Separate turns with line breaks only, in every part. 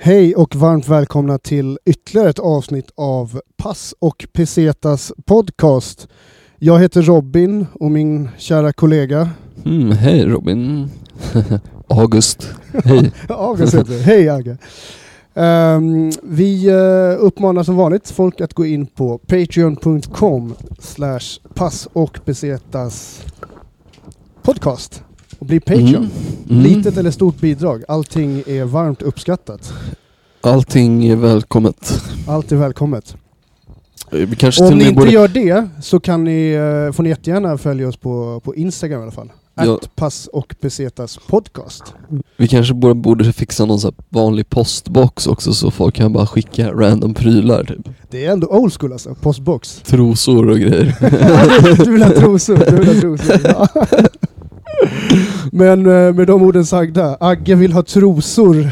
Hej och varmt välkomna till ytterligare ett avsnitt av Pass och Pesetas podcast. Jag heter Robin och min kära kollega
Mm, hej Robin. August. Hej.
Aga Säter. Hej Aga! Ehm, vi eh, uppmanar som vanligt folk att gå in på patreon.com slash pass och pesetas podcast och bli Patreon.
Mm.
Litet eller stort bidrag, allting är varmt uppskattat.
Allting är välkommet.
Allt är välkommet.
Eh, Vi kanske
Om
till
ni
och med
inte
borde...
gör det så kan ni, eh, får ni jättegärna följa oss på, på Instagram i alla fall.
Ja.
Att pass och pesetas podcast.
Vi kanske borde, borde fixa någon så här vanlig postbox också så folk kan bara skicka random prylar typ.
Det är ändå old school alltså, postbox.
Trosor och grejer.
du vill ha trosor, du vill ha trosor. Ja. Men eh, med de orden sagda, Agge vill ha trosor.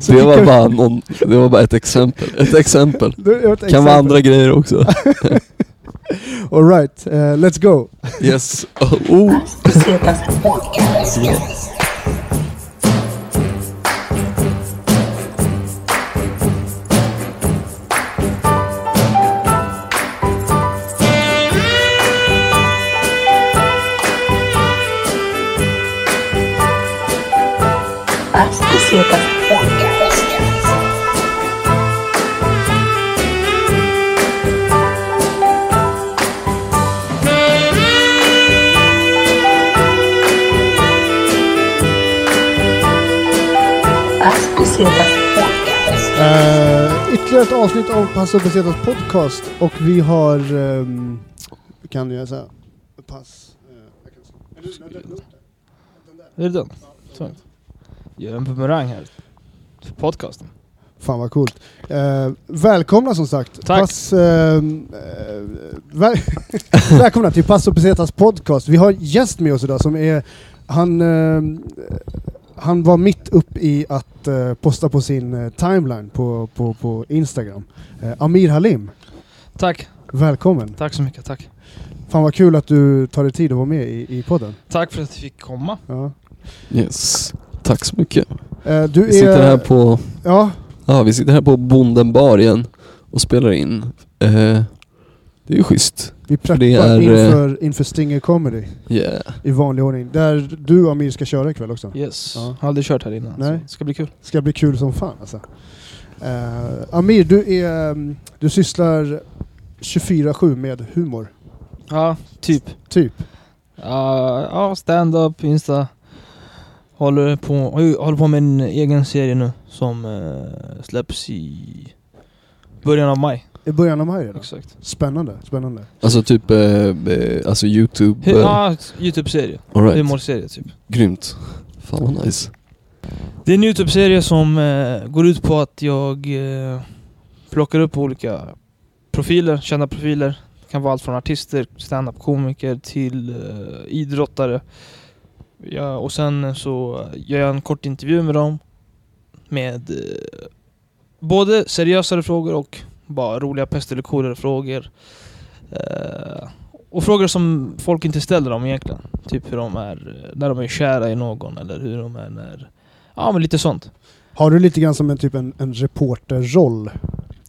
Så
det,
vi
var
kan-
bara någon, det var bara ett exempel. Ett exempel.
Det är ett
Kan
exempel.
vara andra grejer också.
All right, eh, let's go.
Yes. Oh.
Paz y ciertas podcast. Paz y ciertas podcast.
Eh, ytterligare ett avsnitt av Pass och Pesetas podcast och vi har... ehm, kan jag säga? Pass... eh, jag kan se. Är du- är du-
Är det den? Sånt. Gör en bumerang här. För podcasten.
Fan vad coolt. Eh, välkomna som sagt.
Tack.
Pass, ehm, eh, väl välkomna till Pass och Pesetas podcast. Vi har en gäst med oss idag som är... Han, ehm, han var mitt upp i att eh, posta på sin eh, timeline på, på, på Instagram. Eh, Amir Halim,
Tack.
välkommen.
Tack så mycket. Tack.
Fan vad kul att du tar dig tid att vara med i, i podden.
Tack för att du fick komma.
Ja.
Yes. Tack så mycket.
Eh, du
Vi sitter
är...
här på...
Ja,
Ja, vi sitter här på Bonden bar igen och spelar in. Eh, det är ju schysst.
vi preppar
det är, eh,
inför, inför Stinger Comedy
Yeah.
i vanlig ordning. Där du och Amir ska köra ikväll också.
Yes.
Ja.
Har aldrig kört här innan.
Nej.
Så det ska bli kul.
ska bli kul som fan alltså. Eh, Amir, du, är, mm, du sysslar 24-7 med humor,
Ja, typ.
typ.
Ja, ja, stand-up, insta. Håller på, oj, håller på med en egen serie nu som eh, släpps i början av maj.
I början av maj redan.
Exakt.
Spännande, spännande.
Alltså typ eh, eh, alltså Youtube.
Hu-
Eh,
Ja, Youtube-serie.
Alright.
Humorserie typ.
Grymt. Fan vad nice.
Det är en Youtube-serie som eh, går ut på att jag eh, plockar upp olika profiler, kända profiler. Det kan vara allt från artister, standup-komiker till eh, idrottare. Ja, och sen så gör jag en kort intervju med dem. Med eh, både seriösare frågor och bara roliga pest eller kolera-frågor. Eh, och frågor som folk inte ställer dem egentligen. Typ hur de är eh, när de är kära i någon eller hur de är när... Ja men lite sånt.
Har du lite grann som en, typ en, en reporterroll?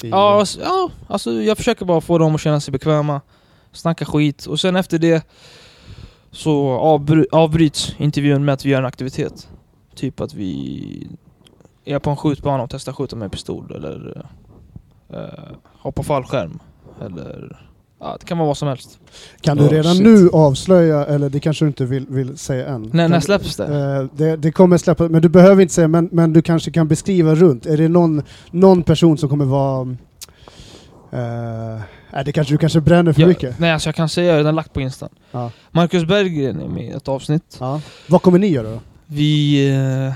i-
Ja, ass- ja, alltså jag försöker bara få dem att känna sig bekväma, snacka skit och sen efter det så avbry avbryts intervjun med att vi gör en aktivitet. Typ att vi är på en skjutbana och testar skjuta med pistol eller eh, hoppa fallskärm eller ja, det kan vara vad som helst.
Kan du
Oh,
redan
shit.
nu avslöja, eller det kanske du inte vill, vill säga än?
När,
Kan
när
du-
släpps det?
Eh, det, det kommer släppa, men du behöver inte säga, men, men du kanske kan beskriva runt. Är det någon, någon person som kommer vara... eh, nej, det kanske du kanske bränner för mycket.
Jag, nej alltså jag kan säga, jag har redan lagt på instan.
Ja.
Marcus Berggren är med i ett avsnitt.
Ja. Vad kommer ni göra då?
Vi, eh,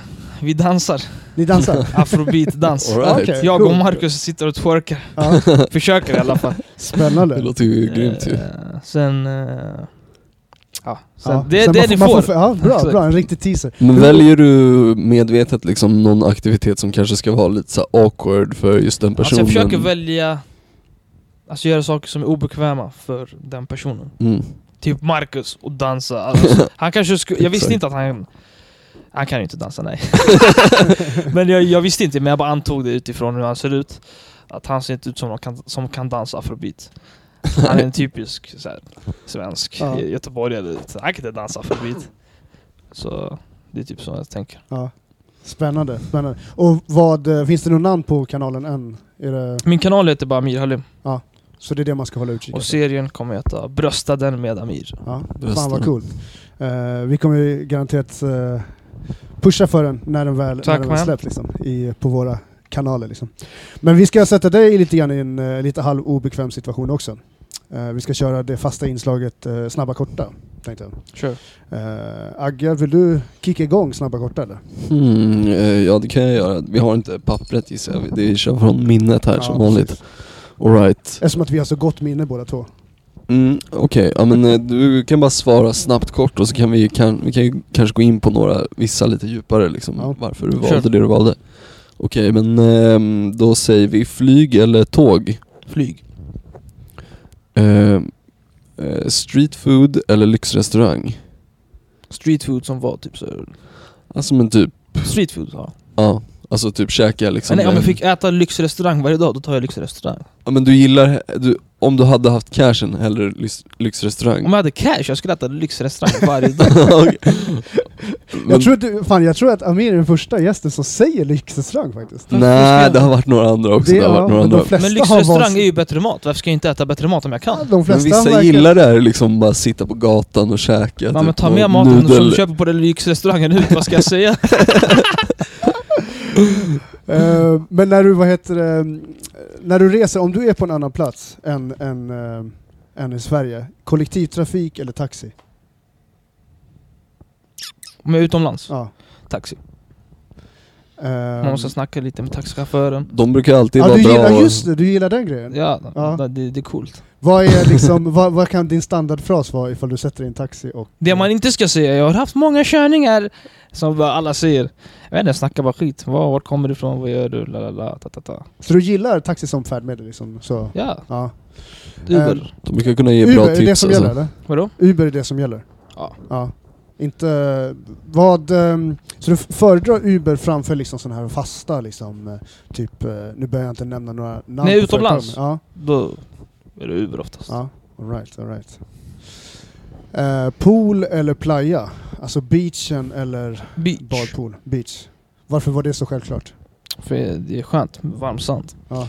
vi dansar,
Ni dansar?
afrobeat-dans.
Alright.
Okej,
Jag och
Eh, cool.
Marcus sitter och twerkar.
Ja,
Försöker i alla fall.
Det
spännande.
låter ju grymt ju.
Eh, Sen... eh, ja, sen
Ja.
det är
Sen
det
man
ni
man
får.
ja, bra,
Exakt.
bra, en riktig teaser.
Men väljer du medvetet liksom någon aktivitet som kanske ska vara lite så här awkward för just den
Alltså
personen?
jag försöker välja... Alltså göra saker som är obekväma för den personen.
Mm.
Typ Marcus och dansa. Alltså, han kanske skulle... Jag visste
Exakt.
inte att han... Han kan ju inte dansa, nej. men jag, jag visste inte, men jag bara antog det utifrån hur han ser ut. Att han ser inte ut som någon kan, som kan dansa afrobeat. Han är en typisk så här, svensk
Ja.
ja. göteborgare. Så Han kan inte dansa afrobeat. Så det är typ så jag tänker.
Ja. Spännande, spännande. Och vad, eh, finns det något namn på kanalen än? Är det,
Min kanal heter bara Amir Halim
så det är det man ska hålla utkik
och
efter?
serien kommer heta Brösta den med Amir.
Ja,
Brösten.
fan vad coolt. Eh, vi kommer ju garanterat eh, pusha för den när den väl, när
Tack,
den väl
man.
släpps liksom, i, på våra kanaler. Liksom. Men vi ska sätta dig lite grann i en eh, lite halv obekväm situation också. Eh, vi ska köra det fasta inslaget eh, Snabba Korta. Tänkte jag.
Kör.
Eh, Agge, vill du kicka igång Snabba Korta? Eller?
Mm, eh, ja det kan jag göra. Vi har inte pappret gissar jag. Det är kör från minnet här
Ja,
som vanligt.
precis.
Alright.
Eftersom att vi har så gott minne båda två.
Mm, Okej, ja, men eh, du kan bara svara snabbt kort och så kan vi, kan, vi kan ju kanske gå in på några, vissa lite djupare liksom.
Ja.
Varför du
Kör.
valde det du valde. Okej, men ehm, då säger vi flyg eller tåg?
Flyg.
Ehm, eh, street food eller lyxrestaurang?
Street food som var typ så.
Alltså men typ,
Street food, ja.
ja. Alltså typ käka liksom.
Nej, om jag
eh,
fick äta lyxrestaurang varje dag, då tar jag lyxrestaurang.
Ja men du gillar, du, om du hade haft cashen hellre lyx, lyxrestaurang?
Om jag hade cash, jag skulle äta lyxrestaurang varje dag.
Okej. Men-
Jag, tror att du, fan, jag tror att Amir är den första gästen som säger lyxrestaurang faktiskt.
Nej, det har varit några andra också. Det, har
ja,
varit
men
några andra.
de flesta
Men
har valt-
lyxrestaurang är ju bättre mat, varför ska jag inte äta bättre mat om jag kan?
De
Men
flesta har
vissa
verkligen-
gillar det här liksom bara sitta på gatan och käka.
Ja,
typ
men ta
någon
med maten som
nudel.
du köper på den lyxrestaurangen ut, vad ska jag säga?
Eh, men när du, vad heter det, mm, när du reser, om du är på en annan plats än, än, eh, än i Sverige, kollektivtrafik eller taxi?
Om jag är utomlands,
Ja.
taxi.
Eh,
Man måste snacka lite med taxichauffören.
De brukar alltid
ja,
vara
du
bra.
gillar, just det, du gillar den grejen.
Ja,
Ja.
Det, det är coolt.
Vad, är liksom, vad, vad kan din standardfras vara ifall du sätter dig i en taxi och...
Det man inte ska säga, jag har haft många körningar som bara alla säger. Jag vet inte, jag snackar bara skit. Var, vart kommer du ifrån? Vad gör du? La, la, la, ta, ta, ta.
Så du gillar taxi som färdmedel liksom? Så,
Ja,
ja.
Uber.
Eh,
De brukar kunna ge
Uber,
bra
är det
tips.
som
alltså.
gäller eller?
Vadå?
Uber är det som gäller?
Ja.
ja. Inte... Vad... ehm, Så du föredrar Uber framför liksom sådana här fasta liksom, eh, typ... eh, Nu behöver jag inte nämna några namn.
Nej,
på företag,
utomlands.
men- Ja,
Då är det Uber oftast.
ja. Alright, alright. Eh, pool eller playa? Alltså beachen eller
Beach.
badpool? Beach. Varför var det så självklart?
För det är skönt, med varm sand.
Ja.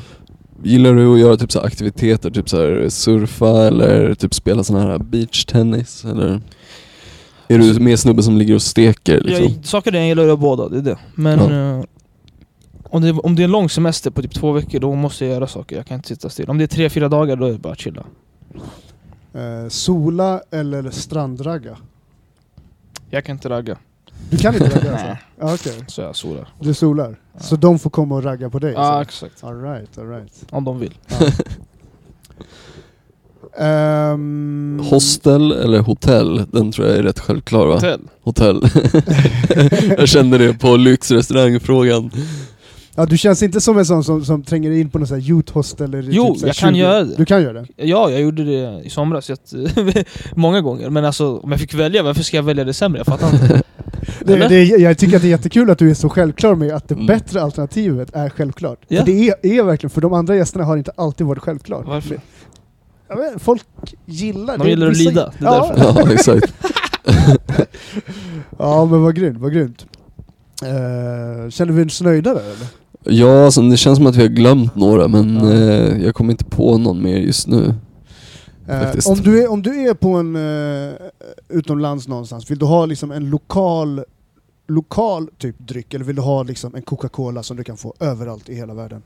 Gillar du att göra typ så här aktiviteter, typ så här surfa eller typ spela sån här beachtennis eller? Är du mer snubben som ligger och steker liksom?
Jag, saker och ting gillar jag båda, det är det. Men eh, om, det, om det är en lång semester på typ två veckor, då måste jag göra saker. Jag kan inte sitta still. Om det är tre, fyra dagar, då är det bara att chilla.
Eh, sola eller strandragga?
Jag kan inte ragga,
Du kan inte ragga alltså?
Nej.
Ja, Okej,
så jag solar.
du solar.
Ja.
Så de får komma och ragga på dig?
Ja,
alltså?
exakt.
Alright, alright.
Om de vill.
Ehm,
Hostel eller hotell? Den tror jag är rätt självklar va?
Hotell.
Hotell. jag kände det på lyxrestaurangfrågan.
Ja, du känns inte som en sån som, som tränger in på någon sån här youth hostel eller typ
Jo,
så här
jag kan göra det.
Du kan göra det?
Ja, jag gjorde det i somras jätte, många gånger. Men alltså, om jag fick välja, varför ska jag välja det sämre? Jag fattar inte.
det,
Eller?
det jag tycker att det är jättekul att du är så självklar med att det
Mm.
bättre alternativet är självklart.
Ja.
För det är, är verkligen, för de andra gästerna har inte alltid varit självklart.
Varför?
Jag vet, folk gillar
De
det.
gillar att
Vissa-
lida, det är
Ja.
Ja, exakt.
ja, men vad grymt, vad grymt. Eh, känner vi oss nöjda där eller?
Ja, alltså, det känns som att vi har glömt några men
Ja.
eh, jag kommer inte på någon mer just nu.
Eh,
Faktiskt.
om, du är, om du är på en eh, utomlands någonstans, vill du ha liksom en lokal lokal typ dryck eller vill du ha liksom en Coca-Cola som du kan få överallt i hela världen?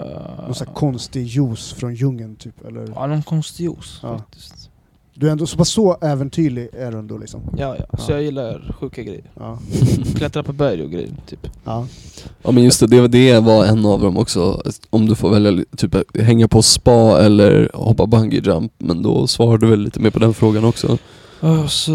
Någon
Ah.
sån här konstig juice från djungeln typ eller?
Eh, Ja, någon konstig juice
Ja.
faktiskt.
Du är ändå så, pass så äventyrlig är du ändå liksom.
Ja, ja. Så
Ja.
jag gillar sjuka grejer.
Ja.
Klättra på berg och grejer, typ.
Ja.
Ja men just det, det, var- det var en av dem också. Om du får välja typ hänga på spa eller hoppa bungee jump Men då svarar du väl lite mer på den frågan också.
Alltså,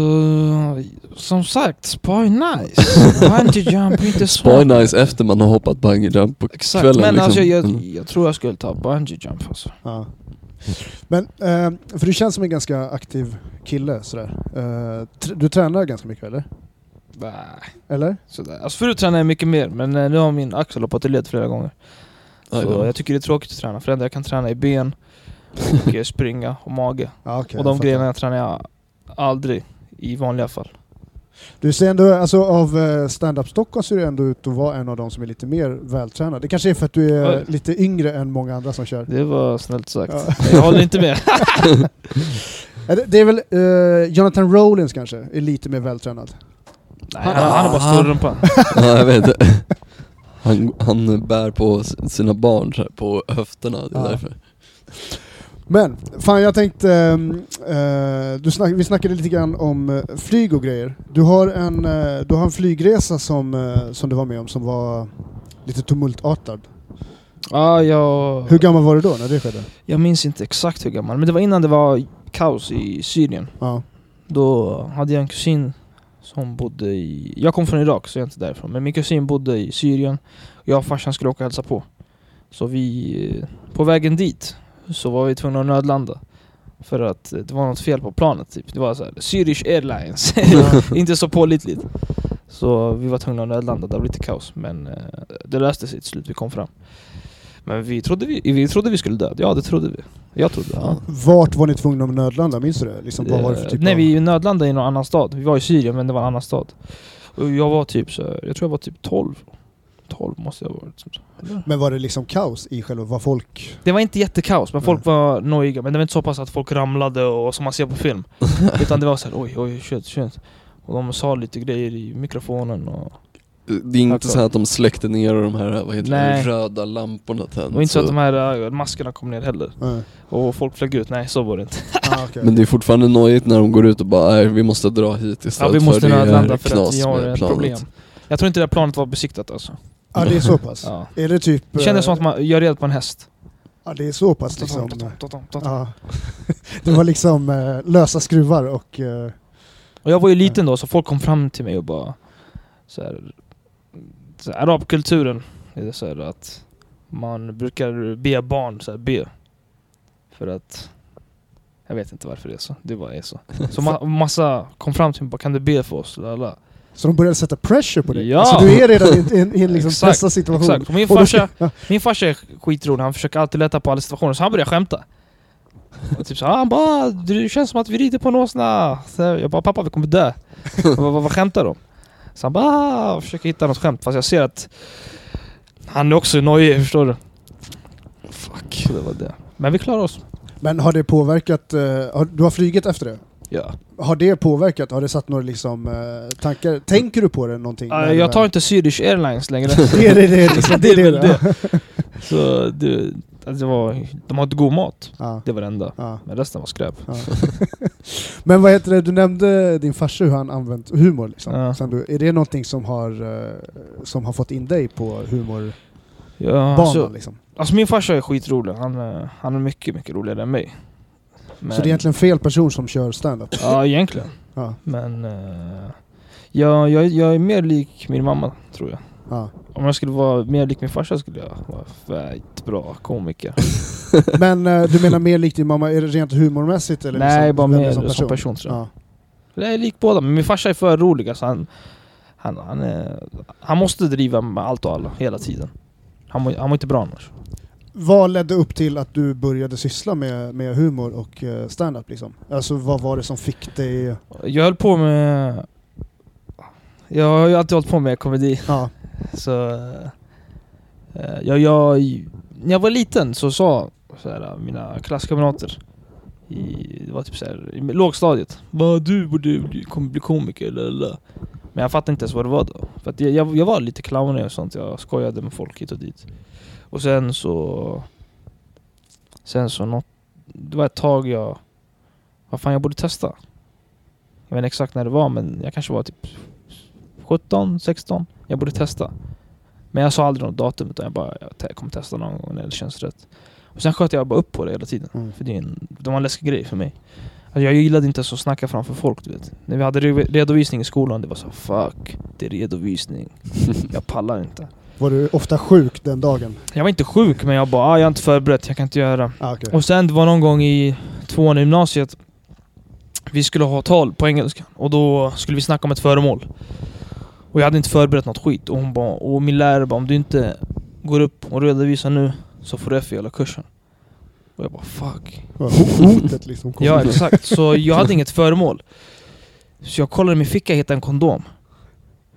som sagt, spa är nice. Bungee jump är inte
Spa är nice efter man har hoppat bungee jump på
Exakt,
kvällen
men
liksom.
alltså jag,
Mm.
jag tror jag skulle ta bungee jump alltså.
ja. Men, eh, för du känns som en ganska aktiv kille sådär. Eh, tr- du tränar ganska mycket eller?
Nej,
Eller?
sådär. Alltså förut tränade jag mycket mer, men eh, nu har min axel hoppat i led flera gånger.
Aj
Så
då.
jag tycker det är tråkigt att träna, för det enda jag kan träna är ben, och eh, springa och mage.
Ja, okej,
och
jag
de
fattar.
grejerna jag tränar jag aldrig i vanliga fall.
Du ser ändå, alltså av eh, stand-up Stockholm ser du ändå ut att vara en av de som är lite mer vältränad. Det kanske är för att du är
Oj.
lite yngre än många andra som kör.
Det var snällt sagt.
Ja.
Jag håller inte med.
Ja, det- Det är väl eh, Jonathan Rollins kanske, är lite mer vältränad.
Nej, han, han har bara stor rumpa.
Ja, jag vet. Han, han bär på s- sina barn så här, på höfterna, det är
Ja.
därför.
Men, fan jag tänkte, ehm, eh, du snack, vi snackade lite grann om eh, flyg och grejer. Du har en, eh, du har en flygresa som, eh, som du var med om som var lite tumultartad.
Ah, Ja, jag...
Hur gammal var du då när det skedde?
Jag minns inte exakt hur gammal, men det var innan det var kaos i Syrien.
Ja,
Då hade jag en kusin som bodde i... Jag kom från Irak så jag är inte därifrån, men min kusin bodde i Syrien. Jag och farsan skulle åka och hälsa på. Så vi... På vägen dit så var vi tvungna att nödlanda. För att eh, det var något fel på planet typ. Det var så här, Syrish Airlines. inte så pålitligt. Så vi var tvungna att nödlanda, det var lite kaos. Men eh, det löste sig till slut, vi kom fram. Men vi trodde vi, vi trodde vi skulle dö. Ja, det trodde vi. Jag trodde det. Ja.
Vart var ni tvungna att nödlanda? Minns du det? Liksom, vad var det för
Eh,
typ
Nej
av...
vi nödlandade i någon annan stad. Vi var i Syrien men det var en annan stad. Och jag var typ så, jag tror jag var typ 12. 12 måste jag ha varit. Eller?
Men var det liksom kaos i själva, var folk...
Det var inte jättekaos men folk var nojiga. Men det var inte så pass att folk ramlade och som man ser på film. Utan det var såhär oj oj shit shit. Och de sa lite grejer i mikrofonen och...
Det är inte
Alltså.
så här att de släckte ner de här, vad heter
Nej.
det, röda lamporna tänds.
Och inte så att
så-
de här eh, maskerna kom ner heller.
Nej.
Och folk flög ut. Nej så var det inte.
eh, Ah, okej.
Men det är fortfarande nojigt när de går ut och bara nej, vi måste dra hit
Ja,
istället
vi måste
för det är
nödlanda för att
knas
vi har
med
ett
planet.
problem. Jag tror inte det här planet var besiktat alltså.
Ja, det är så pass.
Ja.
Är det typ...
Det kändes
eh,
som att man gör red på en häst.
Ja, det är så pass liksom...
Tatam, tatam,
Ja. Det var liksom eh, lösa skruvar och... eh,
Och jag var ju liten då, så folk kom fram till mig och bara... Så här, så här, arabkulturen, är det så här att man brukar be barn så här, be. För att... Jag vet inte varför det är så. Det bara är så. Så ma- massa kom fram till mig och bara 'Kan du be för oss?' Lala.
Så de började sätta pressure på dig?
Ja!
Alltså du är redan i en, i en, i en liksom
Exakt,
pressad situation?
Exakt. Och min
Och då ska-
farsa, min farsa är skitrolig, han försöker alltid lätta på alla situationer, så han börjar skämta. Och typ så, här, han bara det känns som att vi rider på en åsna. Så här, Jag bara pappa vi kommer dö. Jag bara, vad, vad skämtar de? Så han bara "Ah", och försöker hitta något skämt fast jag ser att han är också nojig förstår du.
Fuck.
Så det var det. Men vi klarar oss.
Men har det påverkat... eh, har, du har flugit efter det?
Ja.
Har det påverkat? Har det satt några liksom, eh, tankar? Tänker du på det någonting? när
Äh,
du
Jag
väl-
tar inte Swedish Airlines längre.
Det är det, det är liksom, det. Är det,
väl Så det, alltså, det var, de har inte god mat.
Ja,
Det var det enda.
ja,
Men resten var skräp.
ja. Men vad heter det, du nämnde din farsa hur han använt humor liksom.
Ja.
Sen du, är det någonting som har, eh, som har fått in dig på humorbanan
Ja, alltså,
liksom?
Alltså min farsa är skitrolig, han, eh, han är mycket, mycket roligare än mig. Men,
Så det är egentligen fel person som kör stand-up?
Ja, egentligen.
Ja,
Men eh, jag, jag, jag är mer lik min mamma, tror jag.
ja.
Om jag skulle vara mer lik min farsa skulle jag vara fett bra komiker.
Men eh, du menar mer likt din mamma, är det rent humormässigt eller?
Nej,
liksom,
bara
vem är
mer som person, tror jag.
Ja.
Eller Jag är lik båda, men min farsa är för rolig. Alltså han, han, han, är, han måste driva med allt och alla, hela tiden. Han mår han mår inte bra annars.
Vad ledde upp till att du började syssla med, med humor och eh, stand-up liksom? Alltså vad var det som fick dig...
Jag höll på med... Jag har ju alltid hållit på med komedi.
Ja,
Så... Eh, jag, jag, när jag var liten så sa så här, mina klasskamrater i, det var typ så här, i lågstadiet Vad du borde bli, kom, bli komiker eller, eller Men jag fattade inte ens vad det var då För att jag, jag, jag var lite clownig och sånt, jag skojade med folk hit och dit Och sen så... Sen så något, Det var ett tag jag... Vad fan jag borde testa Jag vet inte exakt när det var men jag kanske var typ 17, 16 Jag borde testa men jag sa aldrig något datum utan jag bara jag te- kommer testa någon gång när det känns rätt. Och sen sköt jag bara upp på det hela tiden.
Mm.
För det, är en, det var en läskig grej för mig. Alltså jag gillade inte ens att snacka framför folk du vet. När vi hade re- redovisning i skolan, det var så fuck, det är redovisning. jag pallar inte.
var du ofta sjuk den dagen?
Jag var inte sjuk men jag bara, ah, jag är inte förberett, jag kan inte göra.
Ah, okej.
Och sen det var någon gång i tvåan i gymnasiet Vi skulle ha tal på engelska och då skulle vi snacka om ett föremål Och jag hade inte förberett något skit. Och, hon bara, och min lärare bara, om du inte går upp och redovisar nu så får du F i hela kursen. Och jag bara, fuck.
Bara ho- Hotet liksom. kom.
Ja, exakt. Så jag hade inget föremål. Så jag kollar i min ficka och hittar en kondom.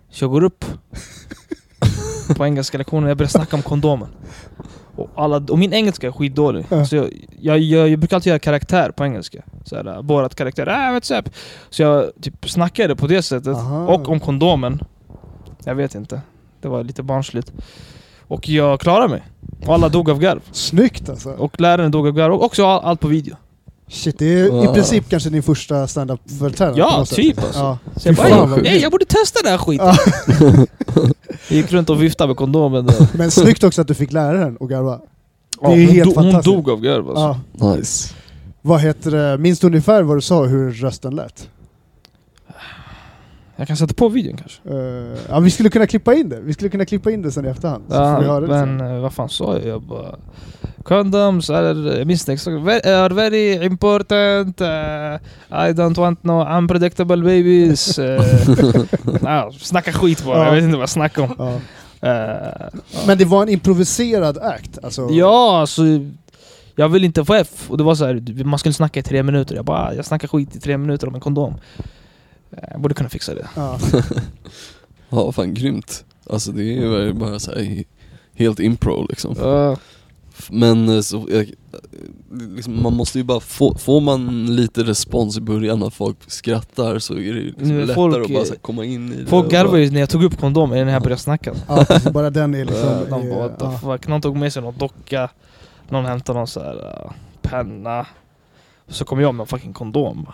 Så jag går upp på engelska lektionen och jag börjar snacka om kondomen. Och, alla, och min engelska är skitdålig.
Ja.
Så jag, jag, jag, jag brukar alltid göra karaktär på engelska. Så här, borat karaktär. Ah, what's up? Så jag typ snackade på det sättet.
Aha.
Och om kondomen. Jag vet inte. Det var lite barnsligt. Och jag klarade mig. Och alla dog av garv.
Snyggt alltså.
Och läraren dog av garv. Och också all- allt på video.
Shit, det är
Wow.
i princip kanske din första standup-företrädare.
Ja,
på något sätt.
typ alltså.
Ja.
Så jag
Fy
bara,
fan, vad
"Ey,
sjukt."
"Ey, jag borde testa den här skiten.
Ja.
jag gick runt och viftade med kondomen. där.
Men snyggt också att du fick läraren att
Alltså.
garva. är
Ja, hon
helt
do- hon
fantastiskt.
dog av garv alltså.
Ja.
Nice.
Vad heter det? Minns du ungefär vad du sa hur rösten lät?
Jag kan sätta på videon kanske.
Eh, ja, vi skulle kunna klippa in det. Vi skulle kunna klippa in det sen i efterhand. Så får vi
Ja,
höra det sen.
men eh, vad fan sa jag? Jag bara... Condoms are, jag minns det exakt. Ve- are very important. eh, I don't want no unpredictable babies. Uh, snacka skit bara.
Ja.
Jag vet inte vad jag snackar om.
Ja.
Eh,
Men det var en improviserad act. Alltså,
Ja, alltså... Jag vill inte få F. Och det var så här, man skulle snacka i tre minuter. Jag bara, jag snackar skit i tre minuter om en kondom. Eh, Jag borde kunna fixa det.
Ja.
Ja, fan grymt. Alltså det är ju bara så här helt impro liksom. Men eh, så, jag, eh, liksom, man måste ju bara få, får man lite respons i början att folk skrattar så är det ju liksom
Nu är
lättare
folk,
att bara
eh,
så här, komma in i
Folk
det. och
garvar
bara-
ju när jag tog upp kondomen innan jag började snacka.
Ja, precis. bara den är liksom...
Eh, De
är-
bara what the
ja.
fuck. Någon tog med sig någon docka. Någon hämtade någon så här eh, penna. Så kom jag med en fucking kondom.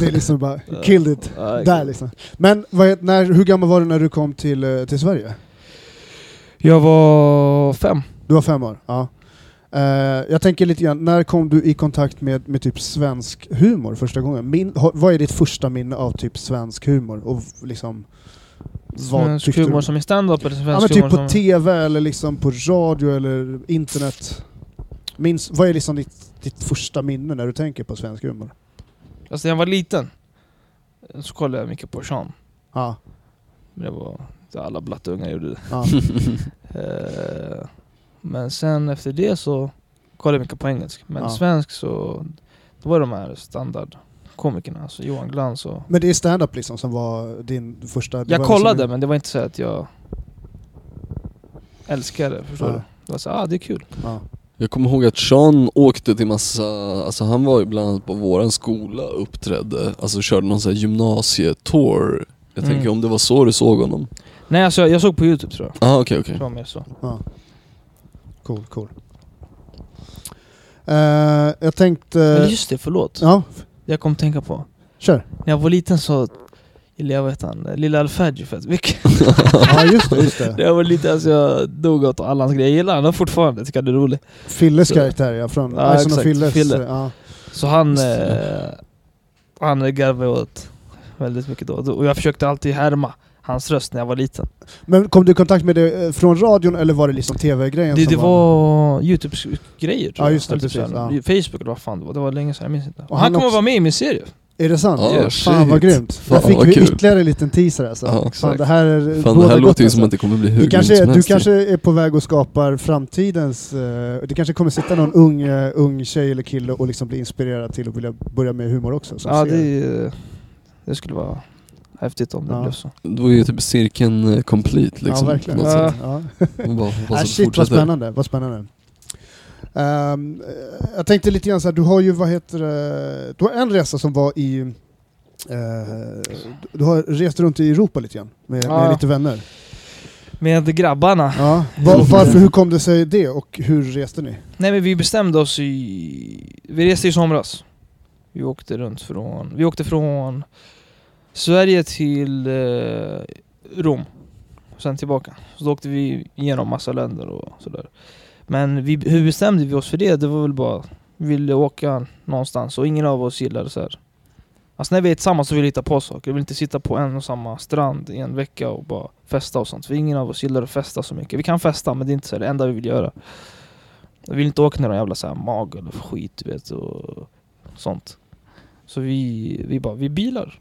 Det är liksom bara, killed it.
Ja,
Där liksom. Men vad, heter- när, hur gammal var du när du kom till, eh, till Sverige?
Jag var fem.
Du var fem år? Ja. Eh, jag tänker lite grann, när kom du i kontakt med, med typ svensk humor första gången? Min, har, vad är ditt första minne av typ svensk humor? Och v- liksom, vad
Svensk
tyckte
humor
du?
som i stand-up eller
Ja
svensk
men typ
humor
på
som...
TV eller liksom på radio eller internet. Minns, vad är liksom ditt, ditt första minne när du tänker på svensk humor?
Alltså när jag var liten. Så kollade jag mycket på Sean.
Ja,
Men det var så alla blattungar gjorde det.
ja.
Eh, Men sen efter det så kollade jag mycket på engelsk. Men
Ja.
svensk så då var det de här standardkomikerna, alltså Johan Glans och...
Men det är stand-up liksom som var din första... det var
Jag
liksom
kollade
din-
men det var inte så att jag älskade det, förstår
Ja.
du? Det var så ah det är kul.
Ja.
Jag kommer ihåg att Sean åkte till massa, alltså han var ju bland annat på våran skola och uppträdde, alltså körde någon sån här gymnasietour. Jag
Mm.
tänker om det var så du såg honom?
Nej alltså jag, jag såg på youtube tror jag.
Ah okej okej.
Det var mer
Eh,
så.
Cool, cool. Eh, jag tänkte...
Men just det, förlåt.
Ja,
Jag kom tänka på.
kör.
När jag var liten så gillade jag, vad heter han, Lilla Alfadji fett mycket.
Ja, just det. Just det.
När jag var liten alltså jag dog åt alla hans grejer. Jag gillar honom fortfarande, tycker han är rolig.
Filles
Så-
karaktär ja, från Ison
Ja,
och
exakt.
Filles. eh,
Fille.
Ja.
Så han,
Just
eh, han garvade åt väldigt mycket då. Och jag försökte alltid härma hans röst när jag var liten.
Men kom du i kontakt med det eh, från radion eller var det liksom TV-grejen
Det,
som
det var Youtube-grejer tror
Ja,
jag.
just det,
Eller typ
precis,
så här,
ja.
Facebook eller vad fan det var. Det var länge sedan, jag minns inte.
Och
han
han
kommer
också-
vara med i min serie.
Är det sant?
Ja,
Fan
shit.
vad grymt.
Fan,
Där fick
vad
vi
kul.
ytterligare en liten teaser alltså.
Ja,
Fan,
exakt.
det här, är-
Fan det
bådar
här
gott,
låter ju
alltså.
som att det kommer bli hur
du
grymt
kanske,
som
du
helst.
kanske är på väg och skapar framtidens... eh, det kanske kommer sitta någon ung, eh, ung tjej eller kille och liksom bli inspirerad till att vilja börja med humor också. som
Ja,
ser-
det, eh, det skulle vara häftigt om det
Ja.
blev så.
Då är ju typ cirkeln eh, complete liksom.
ja, verkligen.
på något sätt.
Ja.
Ja.
Ja.
Man bara hoppas
Ah,
att det
shit vad
fortsätter.
spännande, vad spännande. Ehm, eh, jag tänkte lite grann så här, du har ju vad heter det, du har en resa som var i eh, du har rest runt i Europa lite grann med, med
Ja.
lite vänner.
Med grabbarna.
Ja. Var, varför, hur kom det sig det och hur reste ni?
Nej men vi bestämde oss i... Vi reste i somras. Vi åkte runt från... Vi åkte från Sverige till eh, Rom. Och sen tillbaka. Så då åkte vi igenom massa länder och sådär. Men vi, hur bestämde vi oss för det? Det var väl bara... Vi ville åka någonstans och ingen av oss gillade så här. Alltså när vi är tillsammans så vill vi hitta på saker. Vi vill inte sitta på en och samma strand i en vecka och bara festa och sånt. För ingen av oss gillar att festa så mycket. Vi kan festa men det är inte så här, det enda vi vill göra. Jag vill inte åka några jävla så här mag eller skit du vet och sånt. Så vi, vi bara, vi bilar.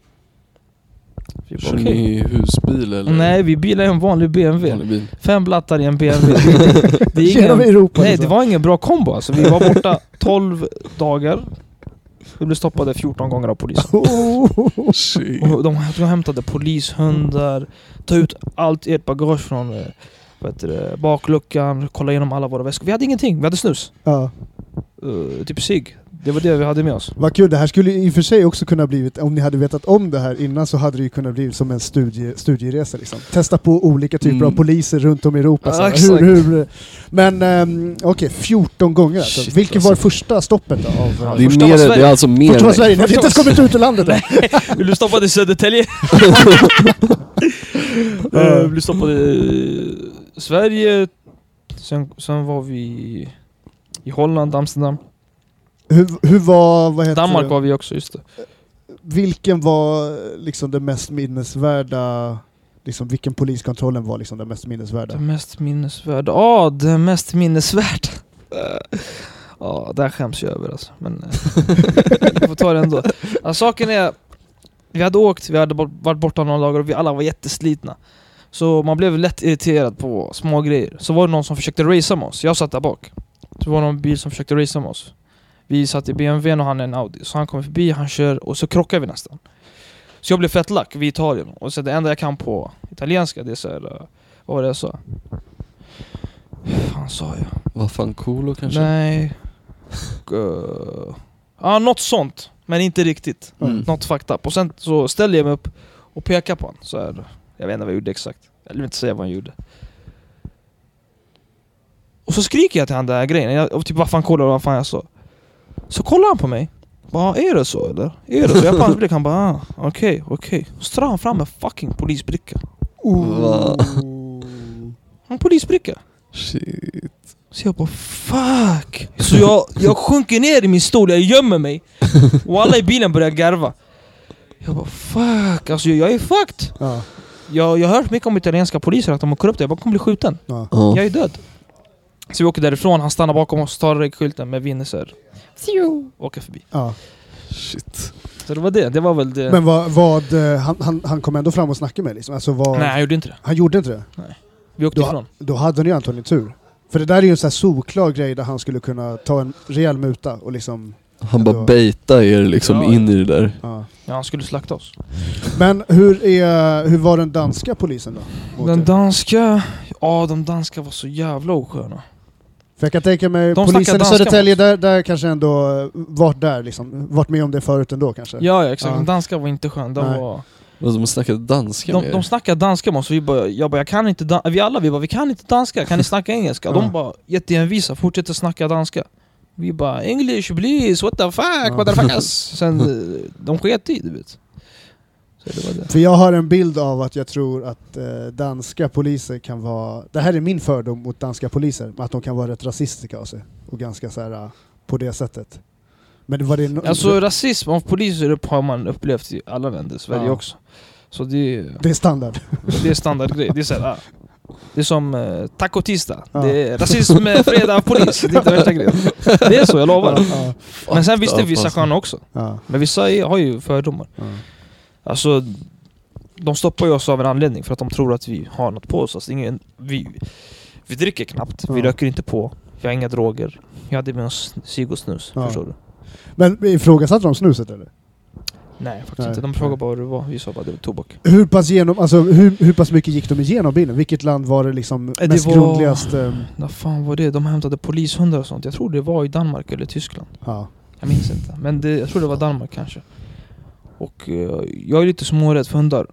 Vi bara,
Kör
okej.
ni husbil eller?
Nej, vi bilade en vanlig BMW.
Vanlig bil.
Fem blattar i en BMW. Det, det, är
Genom
ingen,
Europa
nej,
liksom.
det var ingen bra kombo alltså. Vi var borta 12 dagar. Vi blev stoppade 14 gånger av polisen.
Oh.
Shit.
Och de, de hämtade polishundar, ta ut allt ert bagage från eh, vad heter det, bakluckan, kolla igenom alla våra väskor. Vi hade ingenting, vi hade snus.
Ja.
Eh, typ cigg. Det var det vi hade med oss.
Vad kul, det här skulle i och för sig också kunna blivit, om ni hade vetat om det här innan så hade det ju kunnat blivit som en studie, studieresa liksom. Testa på olika typer
Mm.
av poliser runt om i Europa.
Ja,
så här.
exakt.
hur, hur, men ehm, okej, 14 gånger alltså.
Shit,
Vilket
alltså.
var första stoppet då av... eh,
Det
Första var
är, mer,
Sverige.
det är alltså mer
Första var Sverige, ni hade inte ens
Första var-
kommit ut ur landet än.
Vi blev stoppade i Södertälje. Eh, vi blev stoppade i Sverige. Sen, sen var vi i Holland, Amsterdam.
Hur, hur var, vad heter
Danmark
det?
var vi också, just det.
Vilken var liksom den mest minnesvärda, liksom vilken poliskontrollen var liksom den mest minnesvärda?
Det mest minnesvärda. Ja, det mest minnesvärda. Eh, Ja, där skäms jag över alltså. Men eh, vi får ta det ändå. Ja, saken är, vi hade åkt, vi hade bort- varit borta några dagar och vi alla var jätteslitna. Så man blev lätt irriterad på små grejer. Så var det någon som försökte racea med oss. Jag satt där bak. Så var det någon bil som försökte racea med oss. Vi satt i BMWn och han i en Audi. Så han kommer förbi, han kör och så krockar vi nästan. Så jag blev fett lack vid Italien. Och så det enda jag kan på italienska det är så här, eh, vad var det jag sa? fan sa jag?
Vad fan, Coolo kanske?
Nej... Uh, ja, något sånt. Men inte riktigt.
Mm.
Något fucked up. Och sen så ställer jag mig upp och pekar på honom. Så här. Jag vet inte vad jag gjorde exakt. Jag vill inte säga vad han gjorde. Och så skriker jag till han den här grejen. Jag, och typ vad fan kollar du vad fan jag sa? Så kollar han på mig. Bara, är det så eller? Är det så? Jag på hans blick. Han bara, ah, okej, okej. Så drar han fram en fucking polisbricka.
Va?
En polisbricka.
Shit.
Så jag bara fuck! Så jag, jag sjunker ner i min stol, jag gömmer mig. Och alla i bilen börjar garva. Jag bara fuck, alltså jag, jag är fucked!
Ja,
Jag, jag har hört mycket om italienska poliser, att de är korrupta. Jag bara kommer bli skjuten.
ja.
Ja.
Jag är död. Så vi åker därifrån, han stannar bakom oss, tar regskylten med vinner och åker förbi.
ja.
Shit.
Så det var det, det var väl det.
Men vad, vad eh, han, han, han kom ändå fram och snackade med liksom? Alltså vad,
Nej, jag gjorde inte det.
Han gjorde inte det?
Vi åkte
Då-
ifrån.
Då hade han ju antagligen tur. För det där är ju en sån här solklar grej där han skulle kunna ta en rejäl muta och liksom...
Han bara
Då-
baitar er liksom
Ja.
in i det där.
Ja.
Ja, han skulle slakta oss.
Men hur, är, hur var den danska polisen då? mot er?
Den danska... Ja, de danska var så jävla osköna.
För jag kan tänka mig,
De snackar
polisen i
danska
Södertälje, där, där kanske ändå eh, varit där liksom. Varit med om det förut ändå kanske?
Ja, ja exakt.
Ja.
De danska var inte sköna. De
Nej.
var...
Alltså, de snackade danska
De,
med
de
er.
snackar danska med oss, och vi bara, jag bara jag kan inte dan- vi alla vi bara vi kan inte danska, kan ni snacka engelska?
Ja.
De bara jätteenvisa, fortsätter snacka danska. Vi bara English please, what the fuck,
Ja.
what the fuck Sen eh, de sket i det du vet. Så det var det.
För jag har en bild av att jag tror att eh, danska poliser kan vara... Det här är min fördom mot danska poliser, att de kan vara rätt rasistiska av sig. Och ganska så här eh, på det sättet. Men var det no-
Alltså rasism av poliser upp har man upplevt i alla länder, Sverige
Ja.
också. Så det, är-
det är standard?
det är standardgrej. Det är så här, ah. det är som eh, taco tisdag.
Ja.
Det är rasism, eh, fredag, polis. Det är inte värsta grejen. Det är så, jag lovar.
ja,
Men sen visste
Fucked up,
vissa
alltså.
sköna också.
ja,
Men vissa är, har ju fördomar.
ja.
Alltså, de stoppar ju oss av en anledning för att de tror att vi har något på oss. Alltså, ingen, vi, vi dricker knappt, vi
Ja.
röker inte på, vi har inga droger. Vi hade med oss cigg och snus,
Ja.
förstår du?
Men ifrågasatte de snuset eller?
Nej, faktiskt
Nej.
inte. De frågade bara vad det var. Vi sa bara det var tobak.
Hur pass, genom, alltså, hur, hur pass mycket gick de igenom bilen? Vilket land var det liksom
Eh, det
mest
var-
grundligast? eh,
Vad fan var det? De hämtade polishundar och sånt. Jag tror det var i Danmark eller Tyskland.
Ja.
Jag minns inte. Men det, jag tror det var Danmark kanske. Och eh, jag är lite smårädd för hundar.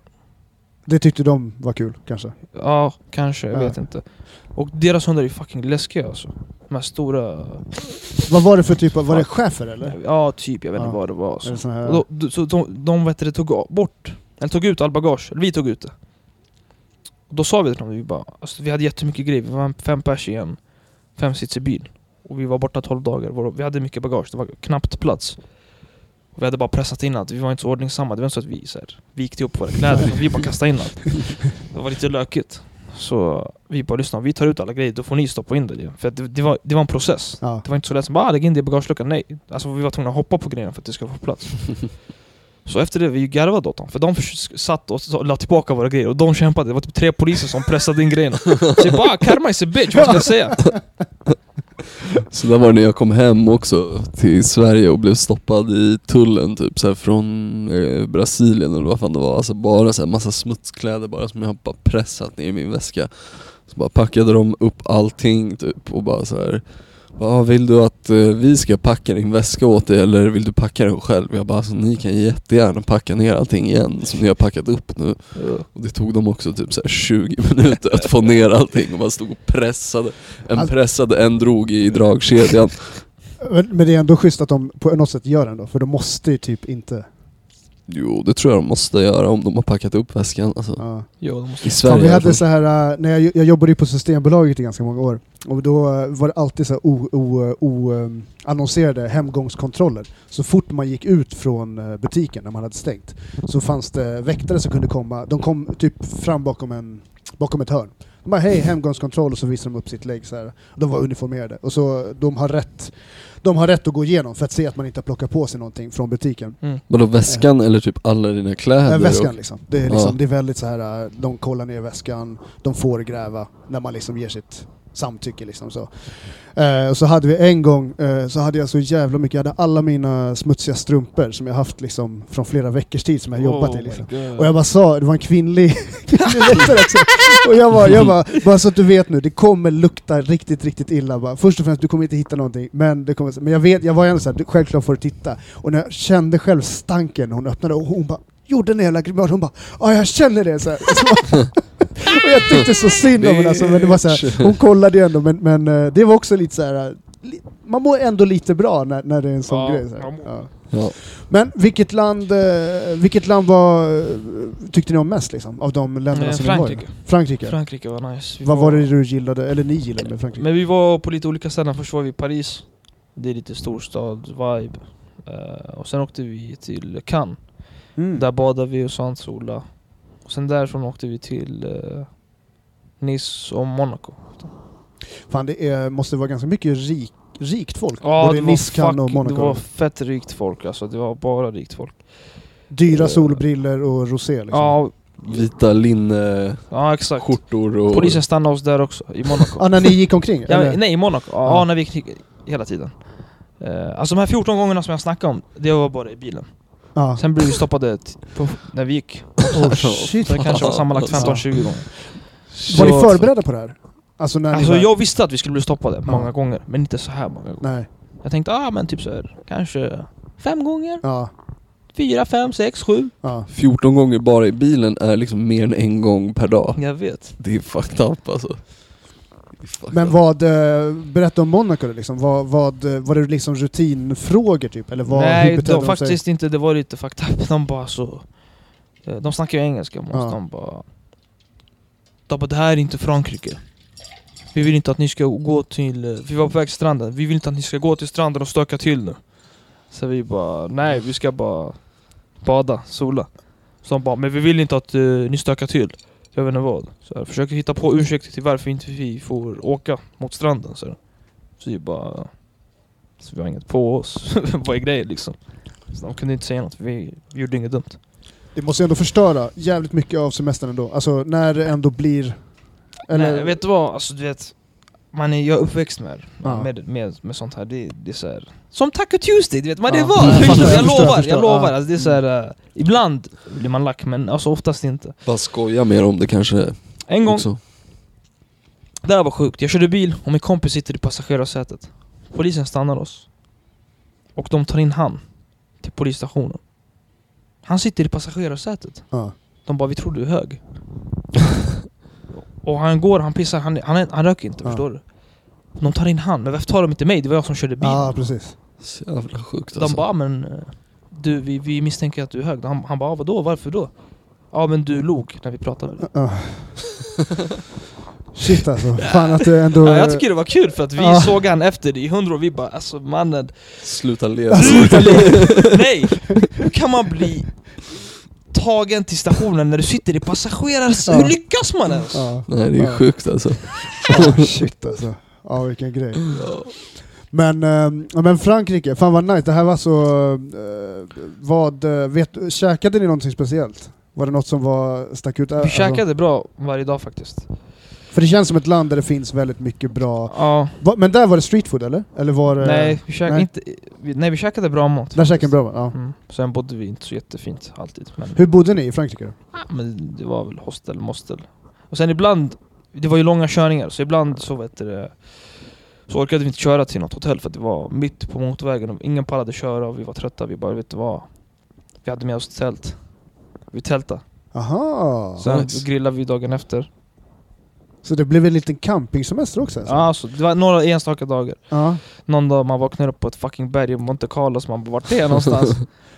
Det tyckte de var kul kanske?
Ja, kanske. Jag
Ja.
vet inte. Och deras hundar är fucking läskiga alltså. De här stora...
Vad var det för typ av, var det schäfer eller?
Ja, typ. Jag vet inte
Ja.
vad det var. Alltså.
Eller sån
Och
här,
då, så de, de vet det, tog bort, eller tog ut all bagage, eller vi tog ut det. Och då sa vi till dem, vi bara, alltså, vi hade jättemycket grejer, vi var fem pers i en femsitsig bil. Och vi var borta 12 dagar, Vår- vi hade mycket bagage, det var knappt plats. Och vi hade bara pressat in allt, vi var inte så ordningsamma, det var inte så att vi så här, vikte ihop våra kläder, utan vi bara kastade in allt. Det var lite lökigt. Så vi bara, lyssna om vi tar ut alla grejer, då får ni stoppa in det. igen." För att det, det, var, det var en process.
ja.
Det var inte så lätt som bara ah, lägg in det i bagageluckan. Nej, alltså vi var tvungna att hoppa på grejerna för att det skulle få plats. Så efter det, vi garvade åt dem. För de förs- satt och så- la tillbaka våra grejer och de kämpade. Det var typ tre poliser som pressade in grejerna. Så jag bara, "Ah, karma is a bitch, vad ska jag säga?
Så där var det när jag kom hem också till Sverige och blev stoppad i tullen typ så här från eh, Brasilien eller vad fan det var. Alltså bara så här massa smutskläder bara som jag bara pressat ner i min väska. Så bara packade de upp allting typ och bara så här. Vad vill du att eh, vi ska packa din väska åt dig eller vill du packa den själv? Jag bara alltså ni kan jättegärna packa ner allting igen som ni har packat upp nu. Och det tog dem också typ så här 20 minuter att få ner allting och man stod och pressade. En
Alltså-
pressade, en drog i dragkedjan.
Men, men det är ändå schysst att de på något sätt gör det ändå, för de måste ju typ inte...
Jo, det tror jag de måste göra om de har packat upp väskan. Alltså,
Ja.
Jo, de måste...
Fan,
I Sverige alltså.
vi
i alla
hade
fall.
så här, äh, när jag, jag jobbade ju på Systembolaget i ganska många år och då äh, var det alltid så här o, o, o, ähm, annonserade hemgångskontroller. Så fort man gick ut från äh, butiken när man hade stängt så fanns det väktare som kunde komma. De kom typ fram bakom, en, bakom ett hörn. De bara hej hemgångskontroll och så visade de upp sitt lägg så här. De var uniformerade och så de har rätt de har rätt att gå igenom för att se att man inte har plockat på sig någonting från butiken.
Vadå väskan eller typ alla dina kläder?
Äh, väskan
och-
liksom. Det är, liksom
Ja.
det är väldigt så här, äh, de kollar ner väskan, de får gräva när man liksom ger sitt samtycke liksom så. Eh, och så hade vi en gång, eh, så hade jag så jävla mycket, jag hade alla mina smutsiga strumpor som jag haft liksom från flera veckors tid som jag
Oh
jobbat i liksom. Och jag bara sa, det var en kvinnlig kvinnlig väktare också. Och jag bara, jag bara, bara så att du vet nu, det kommer lukta riktigt, riktigt illa. Bara, först och främst, du kommer inte hitta någonting. Men, det kommer, men jag vet, jag var ändå såhär, självklart får du titta. Och när jag kände själv stanken när hon öppnade och hon bara, gjorde den jävla grimasen. Hon bara, ja jag känner det. Så här. Och så bara- och jag tyckte så synd om henne alltså, men det var så här, hon kollade ju ändå. Men, men eh, det var också lite så här. li- Man mår ändå lite bra när, när det är en sån
Ja,
grej. Så här.
man mår
Ja.
Ja.
Men vilket land, eh, vilket land var, eh, tyckte ni om mest liksom, av de länderna
Eh,
som ni
Frankrike.
var i? Frankrike.
Frankrike var nice. Vi
Vad var det du gillade, eller ni gillade med Frankrike?
Men vi var på lite olika ställen. Först var vi i Paris. Det är lite storstad-vibe. Eh, och sen åkte vi till Cannes.
Mm.
Där badade vi och solade. Och sen därifrån åkte vi till eh, Nice och Monaco.
Fan det är, måste vara ganska mycket rik, rikt folk.
Ja,
Både
det,
i
var
Nice, Cannes och
fuck, det
Monaco.
var fett rikt folk alltså. Det var bara rikt folk.
Dyra
eh,
solbriller och rosé liksom.
Ja,
Vita linneskjortor
ja exakt.
och...
Polisen stannade oss där också, i Monaco.
Ah, när ni gick omkring?
ja,
eller?
men- nej, i Monaco. Ja,
Ja.
när vi gick hela tiden. Eh, alltså de här 14 gångerna som jag snackade om, det var bara i bilen.
Ja.
Sen blev vi stoppade t- på, när vi gick.
Oh, shit.
Det kanske var sammanlagt 15-20 gånger.
Var ni
Så-
förberedda på det här? Alltså när
Alltså
ni var...
jag visste att vi skulle bli stoppade
Ja.
många gånger, men inte så här många gånger.
Nej.
Jag tänkte, ah men typ så här, kanske fem gånger,
Ja.
fyra, fem, sex, sju.
ja.
14 gånger bara i bilen är liksom mer än en gång per dag.
Jag vet.
Det är fucked up alltså. Det är fucked
Men
up.
vad, eh, berätta om Monaco då, liksom. Vad, vad, eh, var det liksom rutinfrågor typ? Eller vad, hur
Nej,
betedde
de,
sig?
faktiskt inte. Det var lite fucked up. De bara så... eh, De snackar ju engelska, men
Ja.
de bara... De bara, det här är inte Frankrike. Vi vill inte att ni ska gå till... eh, Vi var på väg till stranden. Vi vill inte att ni ska gå till stranden och stöka till nu. Så vi bara, nej vi ska bara bada, sola. Så de bara, men vi vill inte att eh, ni stökar till. Jag vet inte vad. Så här, försöker hitta på ursäkter till varför inte vi får åka mot stranden. Så, här. så vi bara... Så vi har inget på oss. vad är grejen liksom? Så de kunde inte säga något, vi, vi gjorde inget dumt.
Det måste ju ändå förstöra jävligt mycket av semestern ändå. Alltså när det ändå blir... Eller,
Nej, vet du vad? Alltså du vet, man är, jag är uppväxt med,
Ja.
med, med, med sånt här. Det, det är så här. Som Taco Tuesday, du vet vad det
Ja.
var!
Mm, jag
jag,
förstår, jag förstår,
lovar,
förstår.
jag lovar.
Ja.
Alltså, det är så här, eh, ibland blir man lack, men alltså oftast inte.
Bara skoja mer om det kanske
En gång,
också.
det här var sjukt. Jag körde bil och min kompis sitter i passagerarsätet. Polisen stannar oss. Och de tar in han till polisstationen. Han sitter i passagerarsätet.
ja.
De bara, vi tror du är hög. och han går, han pissar, han, han, han röker inte,
Ja.
förstår du? De tar in han, men varför tar de inte mig? Det var jag som körde bil.
ja, precis.
Så jävla sjukt
de
alltså.
bara, "Ah, men eh, du, vi, vi misstänker att du är hög. Han, han bara, "Ah, vadå, varför då? Ja men du log när vi pratade.
Ja. Shit alltså. Fan att det ändå...
Ja, jag tycker det var kul för att vi
Ja.
såg han efter det i hundra och vi bara alltså mannen,
Sluta leva.
Alltså-
nej! Hur kan man bli tagen till stationen när du sitter i passagerars...
Ja.
Hur lyckas man ens?
Ja.
Nej det är
Ja.
sjukt alltså.
Ja, shit alltså. Ja vilken grej. Men, eh, ja, men Frankrike, fan vad nice. Det här var så... eh, vad, eh, vet, du- käkade ni någonting speciellt? Var det något som var, stack ut? Alltså,
Vi käkade bra varje dag faktiskt.
för det känns som ett land där det finns väldigt mycket bra...
Ja,
Va, men där var det street food eller? Eller var det...
nej, vi käkade
Eh, nej.
inte, vi, nej, vi käkade bra mat.
Där
faktiskt.
käkade bra ja.
Mm. Sen bodde vi inte så jättefint alltid. Men,
Hur bodde ni i Frankrike då?
men det var väl hostel, mostel. Och sen ibland, det var ju långa körningar, så ibland så vet du, det, så orkade vi inte köra till något hotell för att det var mitt på motorvägen och ingen pallade köra och vi var trötta. Vi bara, vet du vad? Vi hade med oss tält. Vi tältade.
Aha! Så,
Sen
nice.
grillade vi dagen efter.
det blev en liten campingsemester också alltså?
Ja, så det var några enstaka dagar.
Ja.
Någon dag man vaknar upp på ett fucking berg i Monte Carlo, så man bara, vart är jag någonstans?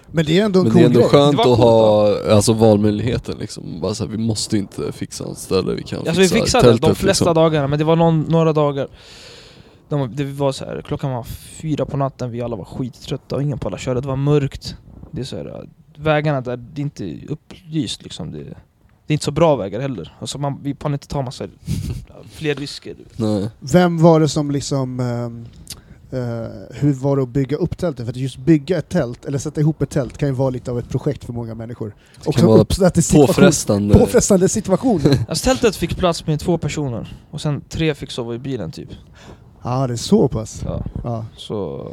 Men det är ändå en
Men
cool
det är ändå
grej.
skönt
Det var
att ha alltså, valmöjligheten liksom. Bara så här, vi måste inte fixa en ställe, vi kan liksom.
Alltså vi fixade de flesta dagarna, men det var någon, några dagar de, Det var så här, klockan var fyra på natten, vi alla var skittrötta och ingen pallade köra, det var mörkt Det är så här, vägarna där, det är inte upplyst liksom det, det är inte så bra vägar heller, alltså man, vi kan inte ta massa fler risker
Nej.
Vem var det som liksom... ehm, eh, hur var det att bygga upp tältet? För att just bygga ett tält, eller sätta ihop ett tält, kan ju vara lite av ett projekt för många människor. Och
vara
Situation,
Påfrestande.
påfrestande situation. Ja,
Alltså tältet fick plats med två personer, och sen tre fick sova i bilen typ
det är så pass.
ja,
Ja.
så.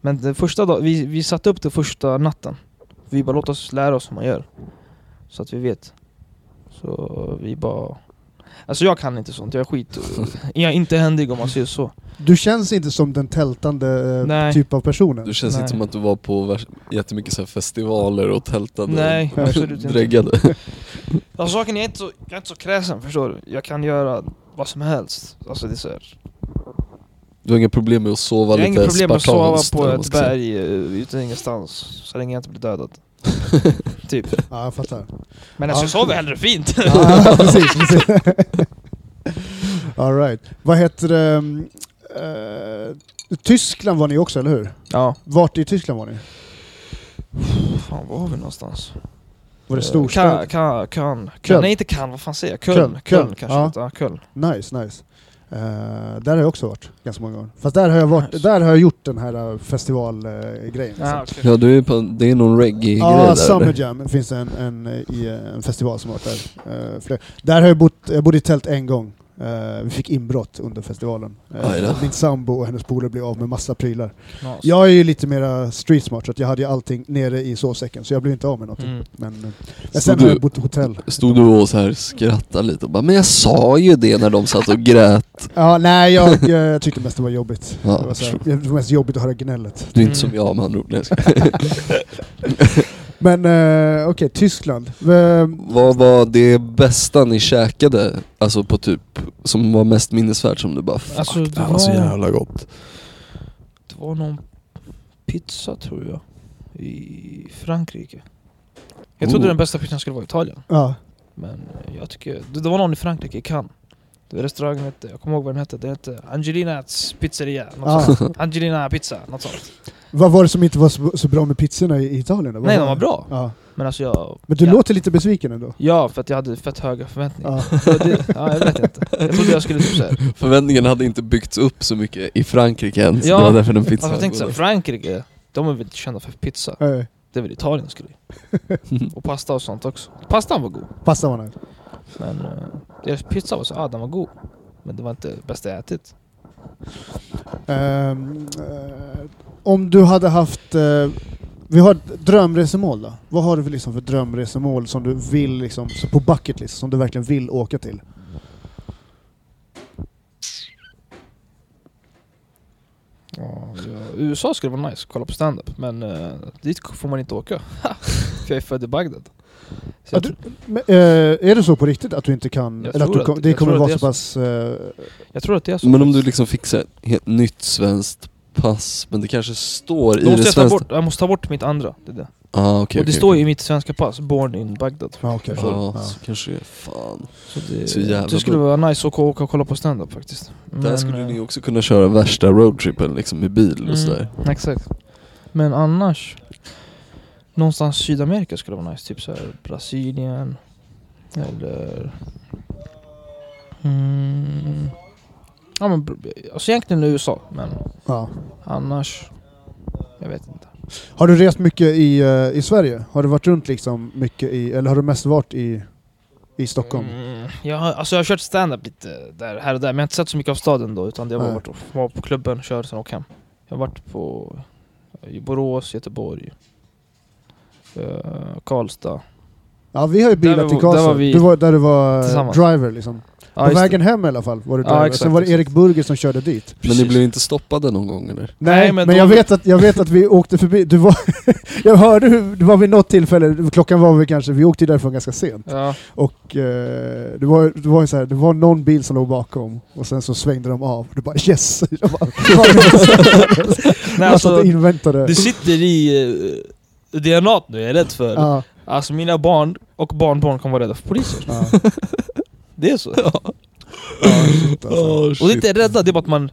Men den första dagen, vi, vi satte upp det första natten Vi bara låt oss lära oss hur man gör Så att vi vet Så vi bara Alltså jag kan inte sånt, jag är skit Jag är inte händig om man säger så
Du känns inte som den tältande eh,
Nej.
typ av personen.
Du känns
Nej.
inte som att du var på värst- jättemycket så här festivaler och tältade
Nej,
och
absolut inte.
dreggade.
Alltså saken är, jag är, inte så, jag är inte så kräsen förstår du Jag kan göra vad som helst Alltså det är så här.
Du har inga problem med att sova
Jag har
lite
inget problem med att sova
spartanskt,
på
eller vad man
ett
ska säga.
berg eh, ute ingenstans Så länge jag inte blir dödad Typ
Ja, jag fattar.
Men alltså
Ja.
jag sover hellre fint
Ja, precis, precis. All right. Vad heter det? ehm, eh, Tyskland var ni också, eller hur?
Ja,
Vart i Tyskland var ni?
fan var var vi någonstans?
Var det
Eh,
storstad?
Ka- Ka- Köln.
Köln.
Köln. Nej inte Köln, vad fan säger jag?
Köln,
Köln. Köln,
Köln,
kanske.
ja.
Ja. Ja, Köln.
Nice, nice. Eh, där har jag också varit ganska många gånger. Fast där har jag, varit, där har jag gjort den här eh, festivalgrejen.
Ja, okay.
Ja, du är på, det är någon reggae-grej
liksom. Ja,
där.
Summer Jam finns en, en, i en festival som har varit där. Eh, fler. Där har jag bott, jag bodde i tält en gång. Eh, vi fick inbrott under festivalen. Eh,
Aj då.
min sambo och hennes polare blev av med massa prylar. Jag är ju lite mera street smart så att jag hade ju allting nere i sovsäcken så jag blev inte av med någonting.
Mm.
Men, eh,
Så
men sen
du-
har jag bott på hotell.
Stod du och så här skrattade lite och bara 'Men jag sa ju det när de satt och grät'
Ja, nej jag, jag tyckte mest det var jobbigt.
Ja,
det, var så här,
förstår.
det var mest jobbigt att höra gnället.
Du är inte
Mm.
som jag med andra ord. Nej, jag skojar.
Men eh, okej, Tyskland. Ehm,
Vad var det bästa ni käkade? Alltså på typ, som var mest minnesvärt som du bara 'Fuck,
Alltså,
det
det
här var så
var-
jävla gott'
Det var någon pizza tror jag. I Frankrike. Jag trodde
Oh.
den bästa pizzan skulle vara i Italien.
ja.
Men eh, jag tycker... Det, det var någon i Frankrike, i Cannes. Det var Restaurangen hette, jag kommer ihåg vad den hette. Den hette Angelinas pizzeria. Något
Ja.
sånt. Angelina pizza, något sånt.
Vad var det som inte var så, så bra med pizzorna i Italien? då? Vad
Nej, de var bra.
Ja.
Men alltså jag...
Men du
ja.
låter lite besviken ändå.
Ja, för att jag hade fett höga förväntningar.
Ja.
Och Det, ja, jag vet inte. Jag trodde jag skulle typ såhär...
Förväntningen hade inte byggts upp så mycket i Frankrike ens.
Ja,
det var därför den pizzan
Alltså jag tänkte
var
såhär,
godast.
Frankrike, de är väl inte kända för pizza?
Eh,
Det är väl Italiens grej? och pasta och sånt också. Pastan var god,
Pasta var nice.
men eh, deras pizza var så, ah den var god. Men det var inte det bästa jag ätit.
Ehm, eh, om du hade haft... eh, vi har ett drömresemål då. Vad har du för, liksom, för drömresemål som du vill liksom, så på bucket list, som du verkligen vill åka till?
Ja, jag- USA skulle vara nice, kolla på stand-up. Men eh, dit får man inte åka. för jag är född i Bagdad. Så
Ja,
jag
du-
tro-
Men, eh, är det så på riktigt att du inte kan...
Jag
Eller att
tror
du, kom-
att-
det
jag
kommer
tror
att
att
vara
det
så
är
pass... eh,
jag tror att det är så.
Men om du liksom fixar ett helt nytt svenskt pass, men det kanske står i
Då
det
måste jag, ta
svenska...
bort, jag måste ta bort mitt andra. Det är det.
Ah, okej,
och det
okej,
står
okej.
ju i mitt svenska pass, born in Bagdad.
ja, okej.
Ja,
Ja.
så kanske det är fan.
Så det,
Så jävla
det skulle
bra.
vara nice att åka åka och kolla på stand-up faktiskt.
Där
Men,
skulle
eh,
ni också kunna köra värsta roadtrippen liksom i bil och sådär.
Mm, exakt. Men annars... Någonstans i Sydamerika skulle vara nice. Typ så här Brasilien. Eller... Mm, Ja, men, br- alltså egentligen i USA, men
Ja.
annars... Jag vet inte.
Har du rest mycket i, eh, i Sverige? Har du varit runt liksom mycket i, eller har du mest varit i, i Stockholm?
Mm, jag, har, alltså jag har kört stand-up lite där, här och där, men jag har inte sett så mycket av staden då. Utan det har bara
Nej.
varit att vara på klubben, köra, sen åka hem. Jag har varit på i Borås, Göteborg, eh, Karlstad.
Ja, vi har ju
Där
bilat
var-
till
där var
Karlstad.
vi-
Du var där du var eh,
Tillsammans.
driver liksom.
Ja,
På
just det.
vägen hem i alla fall var du
Ja,
driver.
exakt,
Sen var det
exakt.
Erik Burger som körde dit.
Men ni
Precis.
blev inte stoppade någon gång eller?
Nej,
men
men,
då-
jag, vet att, jag vet att vi åkte förbi. Du var jag hörde hur, det var vid något tillfälle, klockan var vi kanske, vi åkte ju därifrån ganska sent.
Ja,
Och eh, det var, det var ju så här, det var någon bil som låg bakom och sen så svängde de av. Du bara yes! Jag bara,
nej,
alltså,
alltså,
inväntade.
det sitter i uh, DNA nu, jag är rädd för.
Ja,
Alltså mina barn och barnbarn kommer vara rädda för poliser.
ja.
Det är så.
Ja, shit, alltså.
och det är inte rädda, det är bara att man...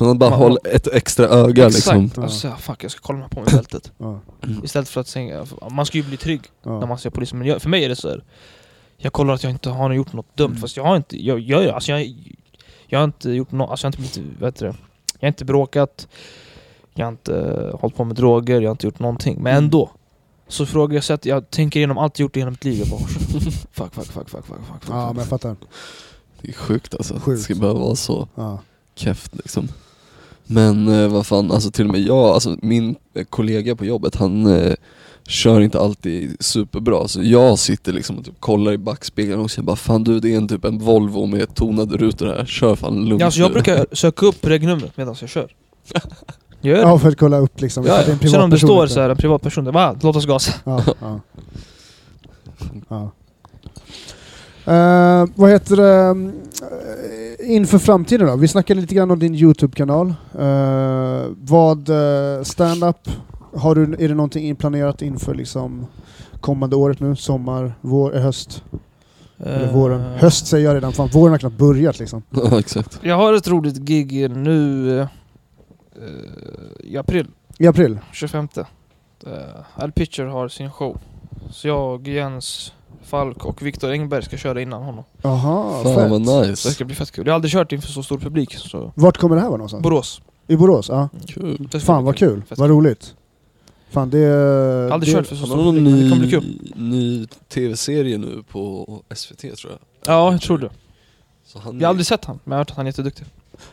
Man bara
Man-
håller ett extra öga liksom.
Exakt. Alltså, fuck, jag ska kolla mig på mig i bältet.
Ja,
Istället för att säga... Man ska ju bli trygg. när
ja.
man ser polisen. Men jag, för mig är det så här. Jag kollar att jag inte har gjort något
Mm.
dumt, fast jag har inte... Jag, jag, alltså jag, jag har inte gjort något... Alltså jag har inte blivit... Vad heter det? Jag har inte bråkat. Jag har inte eh, hållit på med droger. Jag har inte gjort någonting.
Mm.
Men ändå. Så frågar jag så att jag tänker igenom allt jag gjort i hela mitt liv. Jag bara, fuck, fuck, fuck, fuck, fuck, fuck, fuck.
ja men jag fattar.
Det är sjukt alltså. att Det
Sjukt.
ska behöva vara så
Ja.
keft liksom. Men eh, vad fan, alltså till och med jag, alltså min eh, kollega på jobbet han eh, kör inte alltid superbra. Så jag sitter liksom och typ kollar i backspegeln och säger bara fan du det är en typ en Volvo med tonade rutor här, kör fan lugnt
Ja, alltså jag
nu."
brukar söka upp regnumret medan jag kör. Jag Gör det.
ja, för att kolla upp liksom.
Ja,
ifall det är en
ja. Sen om det
privatperson
står
inte.
så här, en privatperson, det bara, låt oss gasa.
Ja, ja. ja. Eh, vad heter det? eh, inför framtiden då? Vi snackade lite grann om din YouTube-kanal. Eh, vad eh, stand-up? Har du, är det någonting inplanerat inför liksom kommande året nu? Sommar, vår, eh, höst? Eller våren?
Eh,
Höst säger jag redan, fan våren har knappt börjat liksom.
Ja exakt.
Jag har ett roligt gig nu eh, eh, i april,
I april?
25. Uh, Al Pitcher har sin show. Så jag, Jens Falk och Viktor Engberg ska köra innan honom.
Jaha,
Fan
fett.
vad
Så det
nice.
ska bli fett kul. Jag har aldrig kört inför så stor publik. Så.
Vart kommer det här vara någonstans?
Borås.
I Borås? Ja.
Kul.
Det ska
Fan
bli
vad kul,
Fett
vad roligt. Fan det...
Jag har aldrig
det,
kört för så
Han
stor
har någon
publik, men det kommer bli kul.
ny, ny tv-serie nu på SVT tror jag.
Ja, jag tror det.
Så han,
Jag har aldrig sett han, men jag har hört att han är jätteduktig.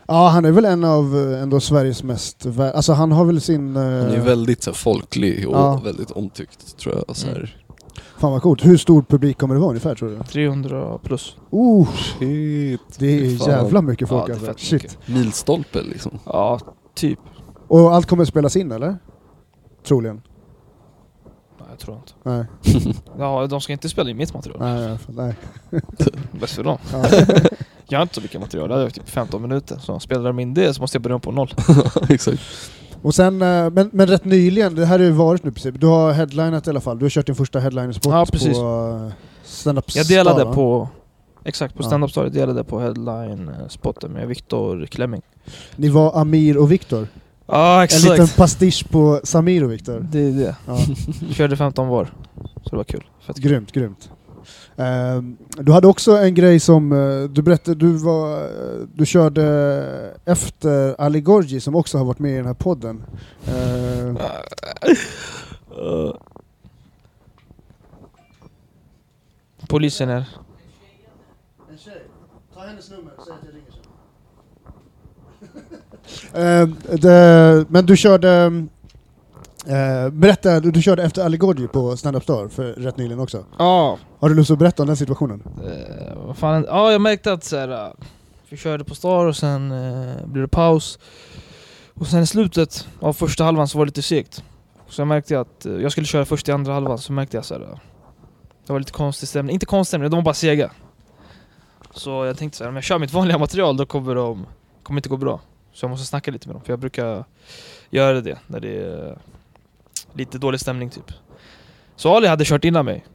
Ja, han är väl en av eh, ändå Sveriges mest... vä- Alltså han har väl sin... eh,
han är ju väldigt så här, folklig och
Ja.
väldigt omtyckt tror jag. Så här.
Fan vad coolt. Hur stor publik kommer det vara ungefär tror du?
300 plus.
Oh,
Shit.
det är
Fy fan.
jävla mycket folk
Ja, det är
alltså.
fett
Shit.
mycket.
Milstolpe liksom.
Ja, typ.
Och allt kommer spelas in eller? Troligen.
Nej, jag tror inte.
Nej,
Ja, de ska inte spela in mitt material.
nej, nej, nej.
Bäst för dem.
Ja.
Jag har inte så mycket material, det är typ 15 minuter. Så spelar de in det så måste jag börja om på noll.
Exakt.
Och sen, eh, men, men rätt nyligen, det här har ju varit nu precis. Du har headlinat i alla fall. Du har kört din första headlinersport
Ja, precis.
på eh, standup
Jag delade på... Exakt, på
Ja.
stand-up story delade jag på headline-spotten med Viktor Klemming.
Ni var Amir och Viktor.
Ja,
En
exakt!
liten pastisch på Samir och Viktor.
Det är det.
Ja.
Vi Körde 15 var. Så det var kul. Fett kul.
Grymt, grymt. Ehm, du hade också en grej som eh, du berättade, du, var, eh, du körde efter Ali Gorgi som också har varit med i den här podden. Ehm,
Eh. Polisen är...
ehm, det, men du körde, eh, berätta, du, du körde efter Ali Gorgi på Stand Up Star för rätt nyligen också.
Ja.
Har du lust att berätta om den situationen?
Eh, vad fan, ja jag märkte att så här, eh, vi körde på Star och sen eh, blev det paus. Och sen i slutet av första halvan så var det lite segt. Så jag märkte att eh, jag skulle köra först i andra halvan så märkte jag så här, eh, det var lite konstig stämning. Inte konstig stämning, de var bara sega. Så jag tänkte så här, om jag kör mitt vanliga material då kommer de kommer inte gå bra. Så jag måste snacka lite med dem, för jag brukar göra det när det är eh, lite dålig stämning typ. Så Ali hade kört innan mig.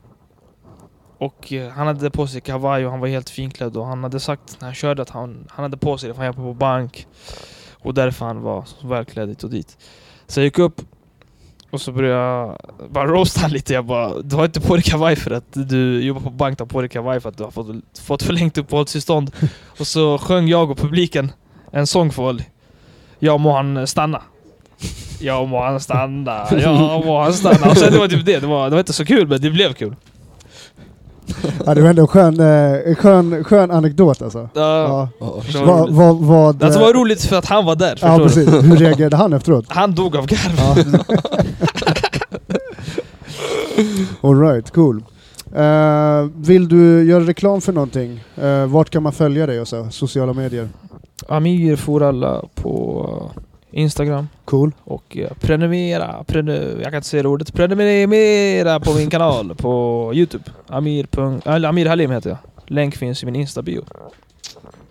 Och eh, han hade på sig kavaj och han var helt finklädd och han hade sagt när han körde att han, han hade på sig det för han jobbade på bank. Och därför han var så välklädd hit och dit. Så jag gick upp och så började jag bara roasta han lite. Jag bara, du har inte på dig kavaj för att du jobbar på bank, du har på dig kavaj för att du har fått, fått förlängt uppehållstillstånd. Och så sjöng jag och publiken en sång för Olli. Jag må han stanna. Jag må han stanna. Jag må han stanna. Och sen det var typ det. Det var, det var inte så kul, men det blev kul.
Ja, det var ändå en skön, eh, skön, skön anekdot alltså.
Ja.
Ja.
Ja,
förstår du?
Vad, vad, vad... eh,
Alltså det var roligt för att han var där.
ja,
Förstår du?
precis. Hur reagerade han efteråt?
Han dog av garv.
Ja. Alright, cool. Eh, vill du göra reklam för någonting? Eh, vart kan man följa dig och så? Sociala medier?
Amir får alla på Instagram.
Cool.
Och eh, prenumerera, prenu, jag kan inte säga det ordet, prenumerera på min kanal på Youtube. Amir, pung- eller Amir Halim heter jag. Länk finns i min Insta-bio.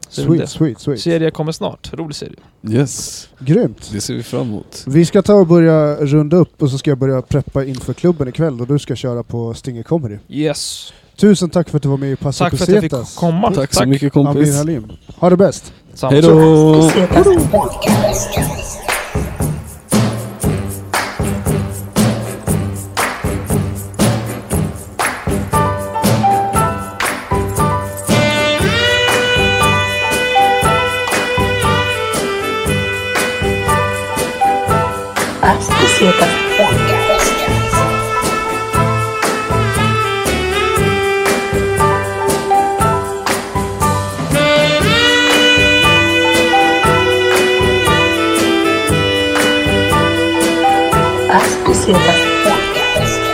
Så det är väl
Sweet, sweet,
det.
sweet.
Serie kommer snart, rolig serie.
Yes,
Grymt.
det ser vi fram emot.
Vi ska ta och börja runda upp och så ska jag börja preppa inför klubben ikväll och du ska köra på Stinger Comedy.
Yes!
Tusen tack för att du var med i Passo
Tack för att jag fick
Alltså, Pesetas.
komma.
Tack så mycket kompis.
Amir Halim. Ha det bäst.
Samma
Hej
sak.
då!
Pesetas Podcast. As Pesetas Podcast. As Pesetas Podcast.